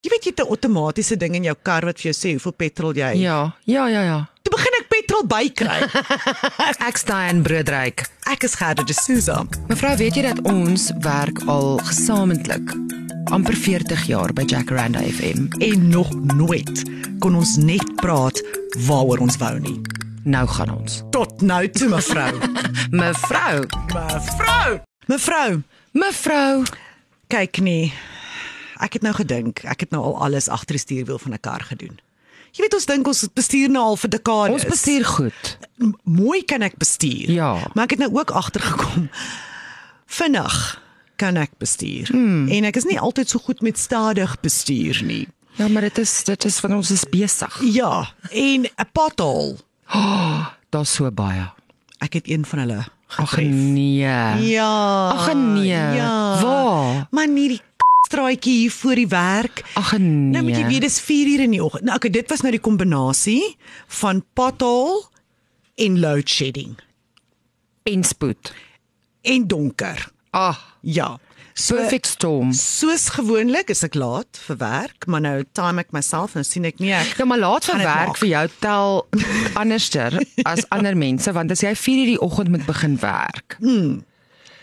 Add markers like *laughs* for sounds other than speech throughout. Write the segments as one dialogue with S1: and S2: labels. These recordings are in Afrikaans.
S1: jy 'n outomatiese ding in jou kar wat vir jou sê hoeveel petrol jy het.
S2: Ja, ja, ja, ja.
S1: Toe begin ek petrol bykry.
S2: *laughs* Ek staan broodryk.
S1: ek is Gerda de Souza.
S2: Mevrou, weet jy dat ons werk al gesamentlik amper 40 jaar by Jacaranda FM.
S1: En nog nooit kon ons net praat waaroor ons wou nie.
S2: Nou gaan ons.
S1: Tot nou toe mevrou.
S2: *laughs* Mevrou,
S1: mevrou. Mevrou,
S2: mevrou,
S1: kyk nie. Ek het nou gedink, ek het nou al alles agter die stuurwiel van 'n kar gedoen. Jy weet ons dink ons bestuur nou al vir dekades.
S2: ons bestuur goed.
S1: M- mooi kan ek bestuur.
S2: Ja.
S1: Maar ek het nou ook agtergekom vinnig kan ek bestuur. Hmm. En ek is nie altyd so goed met stadig bestuur nie.
S2: Ja, maar dit is dit is van ons is besig.
S1: Ja, en 'n pothole.
S2: Daar's so baie.
S1: Ek het een van hulle
S2: Ag
S1: getref.
S2: nee.
S1: Ja.
S2: Ag nee.
S1: Ja.
S2: Waar?
S1: Maar nie die straatjie hier voor die werk.
S2: Ag nee.
S1: Nou moet jy weet dis 4 uur in die oggend. Nou okay, dit was nou die kombinasie van pothole en load shedding
S2: en spoed.
S1: en donker.
S2: Ag,
S1: Ja. So
S2: Ah, perfect storm.
S1: Soos gewoonlik is ek laat vir werk, maar nou time ek myself en nou sien ek nee ek.
S2: Nou maar laat
S1: Gaan
S2: vir
S1: dit
S2: werk
S1: maak.
S2: vir jou tel *laughs* anderster as ander mense want as jy 4:00 die oggend moet begin werk. Mm.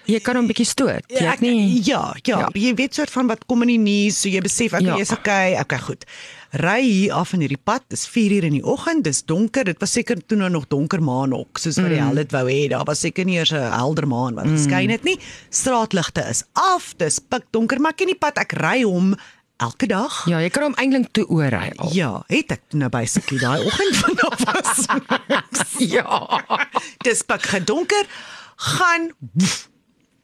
S2: Jy kan hom 'n bietjie stoot. Jy het
S1: Ek,
S2: nie
S1: Hmm. ja, ja, ja, jy weet soort van wat kom in die nuus, so jy besef ek
S2: Ja.
S1: ja. is okay, okay, goed. Ry hier af in hierdie pad, dis 4uur in die oggend, dis donker, dit was seker toe nou nog donker maan ook, soos wat die
S2: Mm.
S1: hel dit wou hê. Daar was seker nie eers 'n helder maan wat geskyn het nie. Straatligte is af, dis pikdonker, maar ek ken die pad, ek ry hom elke dag.
S2: Ja, jy kan hom eintlik toe oorry
S1: *laughs*
S2: al.
S1: Ja, het ek nou basically daai oggend *laughs* vanaf was.
S2: Ja.
S1: Dis pik gedonker, gaan woef.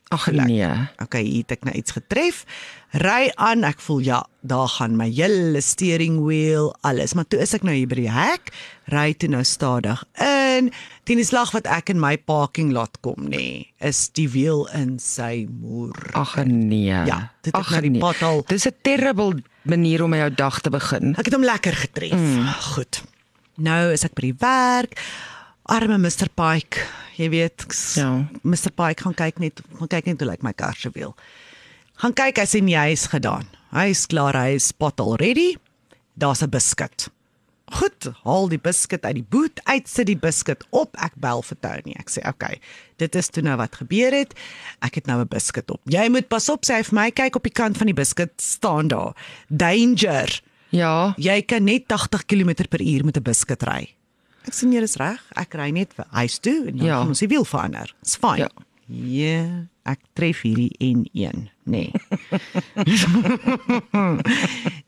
S2: Ag nee.
S1: Okay, hier het ek nou iets getref. Ry aan, ek voel ja, daar gaan my hele steering wheel, alles. Maar toe is ek nou hier by die hek, ry toe nou stadig in. Teen die slag wat ek in my parking lot kom, nê, nee, is die wiel in sy moer.
S2: Ag nee.
S1: Ja, dit het
S2: Ag,
S1: nou die
S2: nee.
S1: pad al-
S2: Dis 'n terrible manier om jou dag te begin.
S1: Ek het hom lekker getref. Mm. Goed. Nou is ek by die werk. Arme Mr Pike, jy weet, ek s-
S2: Ja.
S1: Mr Pike gaan kyk net, gaan kyk net hoe lyk my kar se wiel. Gaan kyk, hy sê nee, hy is gedaan. Hy is klaar, hy is spot already. Daar's 'n biskuit. Goed, haal die biskuit uit die boot uit, sit die biskuit op. Ek bel vir Tony. Ek sê, "Oké, okay, dit is toe nou wat gebeur het. Ek het nou 'n biskuit op. Jy moet pas op," sê hy vir my. Kyk op die kant van die biskuit staan daar. Danger.
S2: Ja.
S1: Jy kan net 80 km/h met 'n biskuit ry. Ek sê nee, dis reg. Ek ry net huis toe en dan
S2: Ja.
S1: ja. gaan ons die wiel verander. Dis fyn.
S2: Ja.
S1: Ja. Ja, ek tref hierdie N1, nê. Nee. *laughs*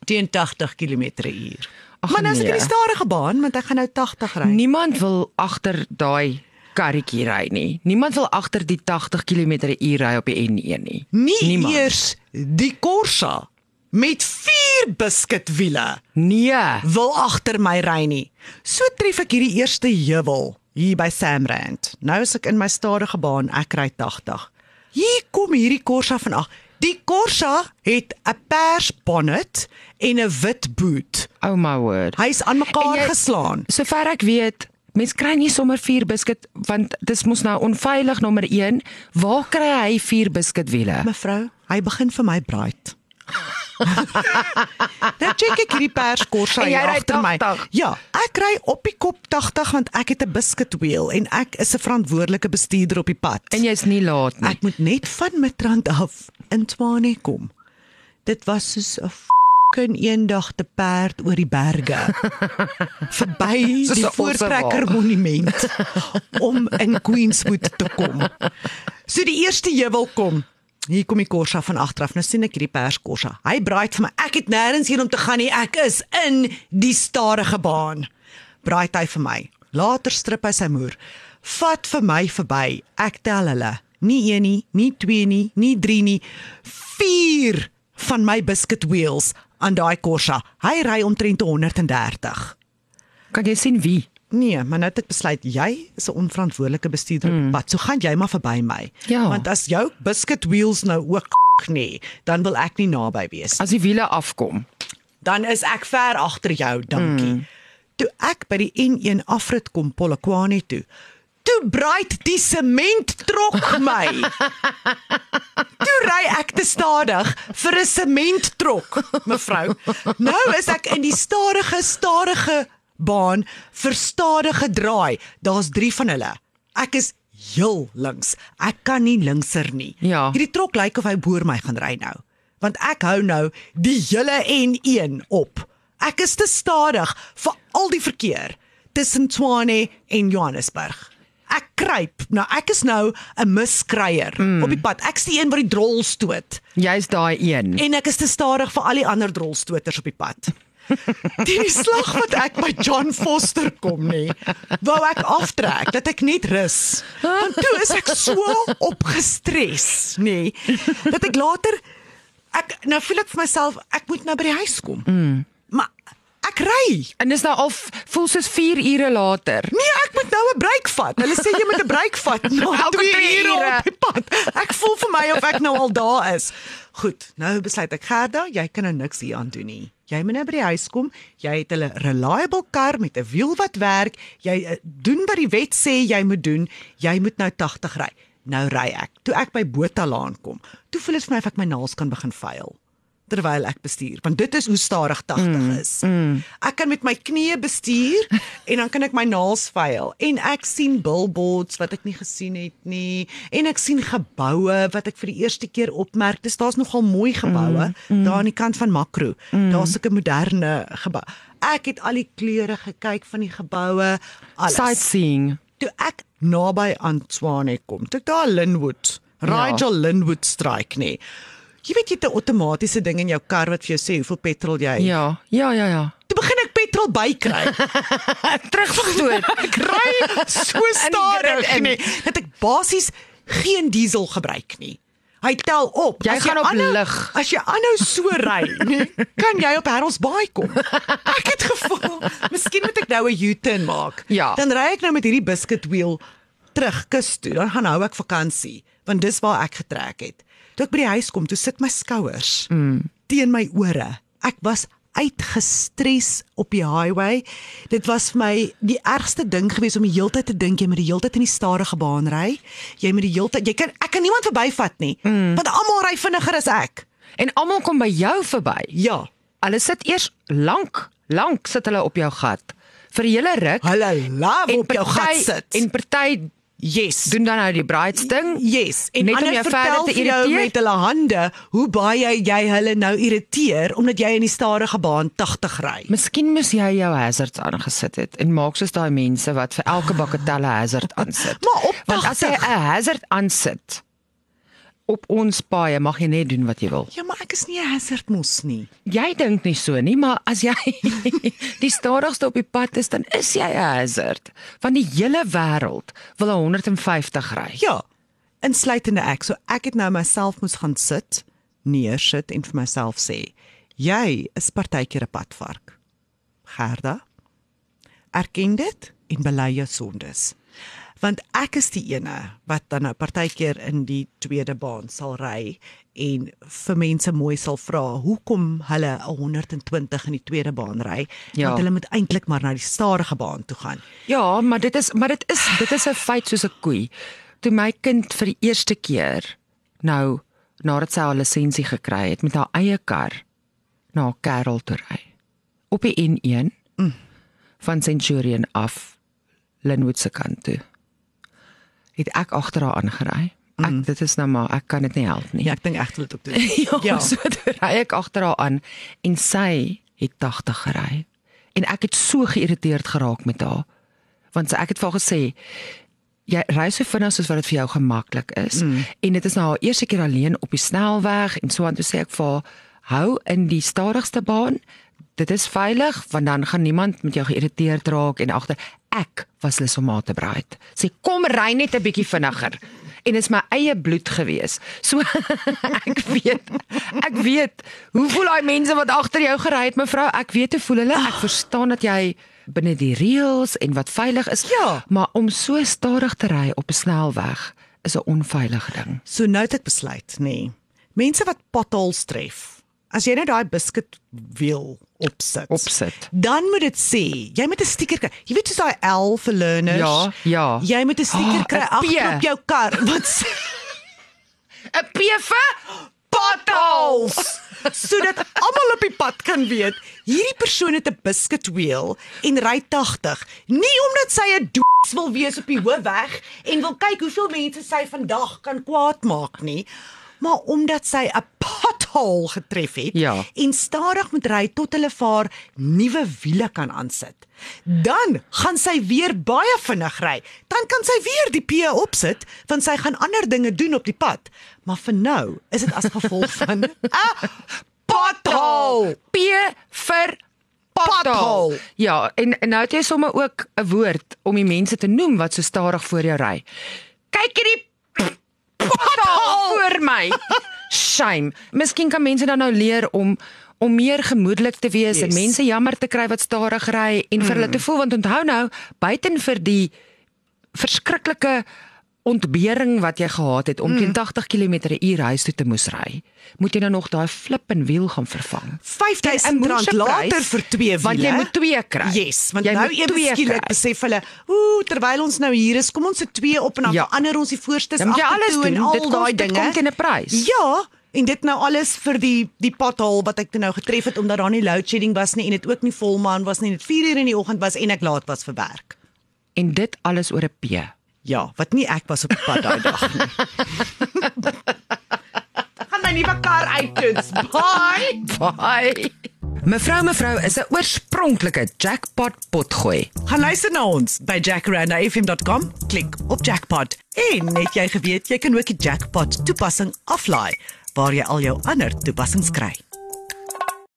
S1: Teen 80 km/h.
S2: Ag,
S1: Maar nou sit ek
S2: nee.
S1: in die stadige baan want ek gaan nou 80 ry.
S2: Niemand wil agter daai karretjie ry nie. Niemand wil agter die 80 km/h ry op die N1 nie.
S1: Nie
S2: Niemand.
S1: Niemand. eers die Corsa met vier biskuitwiele
S2: Nee.
S1: wil agter my ry nie. So tref ek hierdie eerste heuwel hier by Samrand. Nou is ek in my stadige baan, ek ry 80. Hier kom hierdie Corsa van ag. Die Corsa het 'n pers bonnet en 'n wit boot.
S2: Oh my word.
S1: Hy's aan mekaar
S2: En jy-
S1: jy... geslaan.
S2: Sover ek weet, mens kry nie sommer 4 biskuit want dis mos nou onveilig nommer 1. Waar kry hy 4 biskutwiele?
S1: Mevrou, hy begin vir my
S2: *laughs*
S1: braait. nou check ek hierdie pers Corsa
S2: En jy
S1: hier
S2: ry
S1: agter my.
S2: 80.
S1: Ja, ek ry op die kop 80 want ek het 'n biscuitwiel en ek is 'n verantwoordelike bestuurder op die pad.
S2: En jy's nie laat nie.
S1: Ek moet net van Midrand af in Tshwane kom. Dit was soos 'n f***ing eendag te perd oor die berge. Verby
S2: Soos
S1: die
S2: 'n
S1: Voortrekker
S2: ossewaal.
S1: monument om in Queenswood te kom. So die eerste heuwel kom. Hier kom die Corsa van agteraf. Nou sien ek hierdie perskorsa. Hy braai vir my. Ek het nêrens heen om te gaan nie. Ek is in die stadige baan. Braai hy vir my. Later strip hy sy moer. Vat vir my verby. Ek tel hulle. Nie een nie, nie twee nie, nie drie nie. Vier van my biscuit wheels aan daai Corsa. Hy ry omtrent 130.
S2: Kan jy sien wie?
S1: Nee, maar nou het ek besluit jy is 'n onverantwoordelike bestuurder op die pad. So gaan jy maar verby my.
S2: Ja.
S1: Want as jou biscuit wheels nou ook *laughs* nee, dan wil ek nie naby wees.
S2: As die wiele afkom.
S1: Dan is ek ver agter jou, dankie. Toe ek by die N1 afrit kom Polokwane toe, Toe braait die sementtrok my. Toe ry ek te stadig vir 'n sementtrok, mevrou. Nou is ek in die stadige stadige baan vir stadige draai. Daar's 3 van hulle. Ek is heel links. Ek kan nie linkser nie.
S2: Ja.
S1: Hierdie trok lyk of hy boor my gaan ry nou. Want ek hou nou die hele N1 op. Ek is te stadig vir al die verkeer tussen Tshwane en Johannesburg. Ek kruip. Nou ek is nou 'n miskryer mm. op die pad. Ek's die een wat die drol stoot
S2: Jy's daai een.
S1: en ek is te stadig vir al die ander drolstoters op die pad. *laughs* Teen die slag wat ek by John Foster kom nê, wou ek aftrek dat ek net rus. Want toe is ek so opgestres nê dat ek later ek nou voel ek vir myself ek moet nou by die huis kom. Mm. Maar ek ry.
S2: En dis nou al f- voel soos 4 ure later.
S1: Nee, ek moet nou 'n breek vat. Hulle sê jy moet 'n breek vat na
S2: Elke
S1: 2
S2: twee
S1: ure
S2: ure.
S1: op die pad. Ek voel vir my of ek nou al daar is. Goed, nou besluit ek Gerda, jy kan nou niks hieraan doen nie. Jy moet nou by die huis kom. Jy het 'n reliable kar met 'n wiel wat werk. Jy eh, doen wat die wet sê jy moet doen. Jy moet nou 80 ry. Nou ry ek. Toe ek by Botalaan kom, toe voel dit vir my of ek my naels kan begin vuil terwyl ek bestuur, want dit is hoe stadig 80 is. Ek kan met my knieë bestuur en dan kan ek my naels veil en ek sien billboards wat ek nie gesien het nie en ek sien geboue wat ek vir die eerste keer opmerk. Dis daar's nogal mooi geboue daar aan die kant van Makro. Daar's sulke moderne gebou. Ek het al die kleure gekyk van die geboue, alles
S2: Sightseeing.
S1: toe ek naby aan Swane kom, toe ek daar Linwood, Rigel ja. Linwood stryk nie. Jy weet jy het 'n outomatiese ding in jou kar wat vir jou sê hoeveel petrol jy het.
S2: Ja, ja, ja, ja.
S1: *laughs* Toe begin ek petrol bykry.
S2: *laughs* Teruggestoot. *laughs*
S1: ek ry so
S2: In die
S1: stadig
S2: grid in.
S1: nie dat ek basies geen diesel gebruik nie. Hy tel op.
S2: Jy
S1: As
S2: gaan op
S1: aanhou-
S2: lig.
S1: As jy aanhou so *laughs* ry, nee, kan jy op Harrelsbaai kom. Ek het gevoel, miskien moet ek nou 'n U-turn maak.
S2: Ja.
S1: Dan ry ek nou met hierdie biscuitwiel terug kus toe. Dan gaan hou ek vakansie, want dis waar ek getrek het. Toe ek by die huis kom, toe sit my skouers mm. teen my ore. Ek was uitgestres op die highway. Dit was vir my die ergste ding gewees om die heeltyd te dink jy moet die heeltyd in die stadige baan ry. Jy moet die heeltyd jy kan ek kan niemand verbyvat nie, mm. want almal ry vinniger as ek.
S2: en almal kom by jou verby.
S1: Ja.
S2: Hulle sit eers lank, lank sit hulle op jou gat vir 'n hele ruk.
S1: Hulle laaf op jou
S2: party-
S1: gat sit.
S2: En party
S1: yes.
S2: doen dan nou die brides ding.
S1: Yes, en
S2: Net om
S1: ander
S2: jou
S1: vertel
S2: verder te
S1: vir jou
S2: irriteer?
S1: met hulle hande hoe baie jy hulle nou irriteer omdat jy in die stadige baan 80 ry.
S2: Miskien moes jy jou hazards aangesit het en maak soos daai mense wat vir elke bakketelle hazard aansit.
S1: Maar op
S2: Want as jy
S1: 80.
S2: 'n hazard aansit op ons paaie mag jy net doen wat jy wil.
S1: Ja, maar ek is nie 'n hazard mos nie.
S2: Jy dink nie so nie, maar as jy *laughs* die stadigste op die pad is, dan is jy 'n hazard. Want die hele wêreld wil 'n 150 ry.
S1: Ja, insluitende ek. So ek het nou myself moes gaan sit, neersit en vir myself sê, jy is partykeer 'n padvark. Gerda, erken dit en bely jou sondes. Want ek is die ene wat dan nou partykeer in die tweede baan sal ry en vir mense mooi sal vra hoekom hulle 120 in die tweede baan ry
S2: Ja.
S1: ja. want hulle moet eintlik maar na die stadige baan toe gaan.
S2: Ja, maar dit is maar dit is dit is 'n feit soos 'n koei. Toe my kind vir die eerste keer nou nadat sy haar lisensie gekry het met haar eie kar na haar Karel toe ry. Op die N1 mm. van Centurion af Linwood se kant toe. Het ek agter haar aangery. Ek mm. dit is nou maar ek kan dit nie help nie.
S1: Ja, ek dink ek wil dit ook doen. *laughs*
S2: Ja, *laughs* ja. so toe ry ek agter haar aan en sy het 80 gery. En ek het so geïrriteerd geraak met haar. Want sy- ek het vir haar gesê jy ry so vinnig soos wat dit vir jou gemaklik is mm. en dit is nou haar eerste keer alleen op die snelweg en so aan toe sê ek vir haar hou in die stadigste baan. Dit is veilig want dan gaan niemand met jou geïrriteerd raak en agter ek was lus om haar te braai. Sê kom ry net 'n bietjie vinniger. En dit is my eie bloed gewees. So *laughs* ek weet ek weet hoe voel daai mense wat agter jou gery het mevrou? Ek weet hoe voel hulle. Ek verstaan dat jy binne die reëls en wat veilig is.
S1: Ja.
S2: Maar om so stadig te ry op 'n snelweg is 'n onveilige ding.
S1: So nou het ek besluit, nê. Nee. Mense wat potholes tref as jy net daai biscuit wiel opsit.
S2: Opsit.
S1: Dan moet dit sê, jy moet 'n sticker kry. Jy weet soos daai L vir learners.
S2: Ja, ja.
S1: Jy moet 'n sticker
S2: Ah,
S1: oh, kry
S2: 'n
S1: agter
S2: P.
S1: op jou kar wat sê
S2: 'n Pewe?
S1: potholes *laughs* sodat almal op die pad kan weet hierdie persoon het 'n biscuitwiel en ry 80 nie omdat sy 'n doos wil wees op die hoofweg en wil kyk hoeveel mense sy vandag kan kwaad maak nie maar omdat sy 'n pothole getref het
S2: Ja.
S1: en stadig moet ry tot hulle vir nuwe wiele kan aansit dan gaan sy weer baie vinnig ry dan kan sy weer die P opsit want sy gaan ander dinge doen op die pad maar vir nou is dit as
S2: *laughs*
S1: gevolg van 'n pothole
S2: P vir
S1: Pothole.
S2: pothole. Ja, en, en nou het jy sommer ook 'n woord om die mense te noem wat so stadig voor jou ry. Kyk hierdie pothole voor my. Shame. Miskien kan mense dan nou leer om om meer gemoedelik te wees yes. en
S1: Yes.
S2: mense jammer te kry wat stadig ry en vir hulle te voel want onthou nou buiten vir die verskriklike ontbering wat jy gehad het om teen 80 km/h huis toe te moes ry, moet jy nou nog daai flip en wiel gaan vervang. 'n
S1: R5000
S2: moerse
S1: later
S2: prys,
S1: vir twee wiele.
S2: want jy moet twee kry.
S1: Yes, want
S2: Jy
S1: jy nou
S2: moet
S1: ewe
S2: twee
S1: skielik
S2: kry.
S1: besef hulle, ooh, terwyl ons nou hier is, kom ons se twee op en dan
S2: Ja.
S1: ja. verander ons die voorstes
S2: Dan moet jy alles
S1: agtertoe en
S2: doen.
S1: al
S2: Dit kos-
S1: daai
S2: dit
S1: dinge.
S2: kom teen 'n prys.
S1: Ja, en dit nou alles vir die die pothole wat ek toe nou getref het omdat daar nie load shedding was nie en dit ook nie volmaan was nie en dit 4 uur in die oggend was en ek laat was vir werk.
S2: En dit alles oor 'n P.
S1: Ja, wat nie ek was op die pad daai dag nie. *laughs* Gaan my nuwe kar uittoets. Bye.
S2: Bye. Mevrou mevrou is 'n oorspronklike jackpot potgooi.
S1: Gaan luister na ons by jacarandafm.com, klik op jackpot. En net jy geweet, jy kan ook die jackpot toepassing aflaai waar jy al jou ander toepassings kry.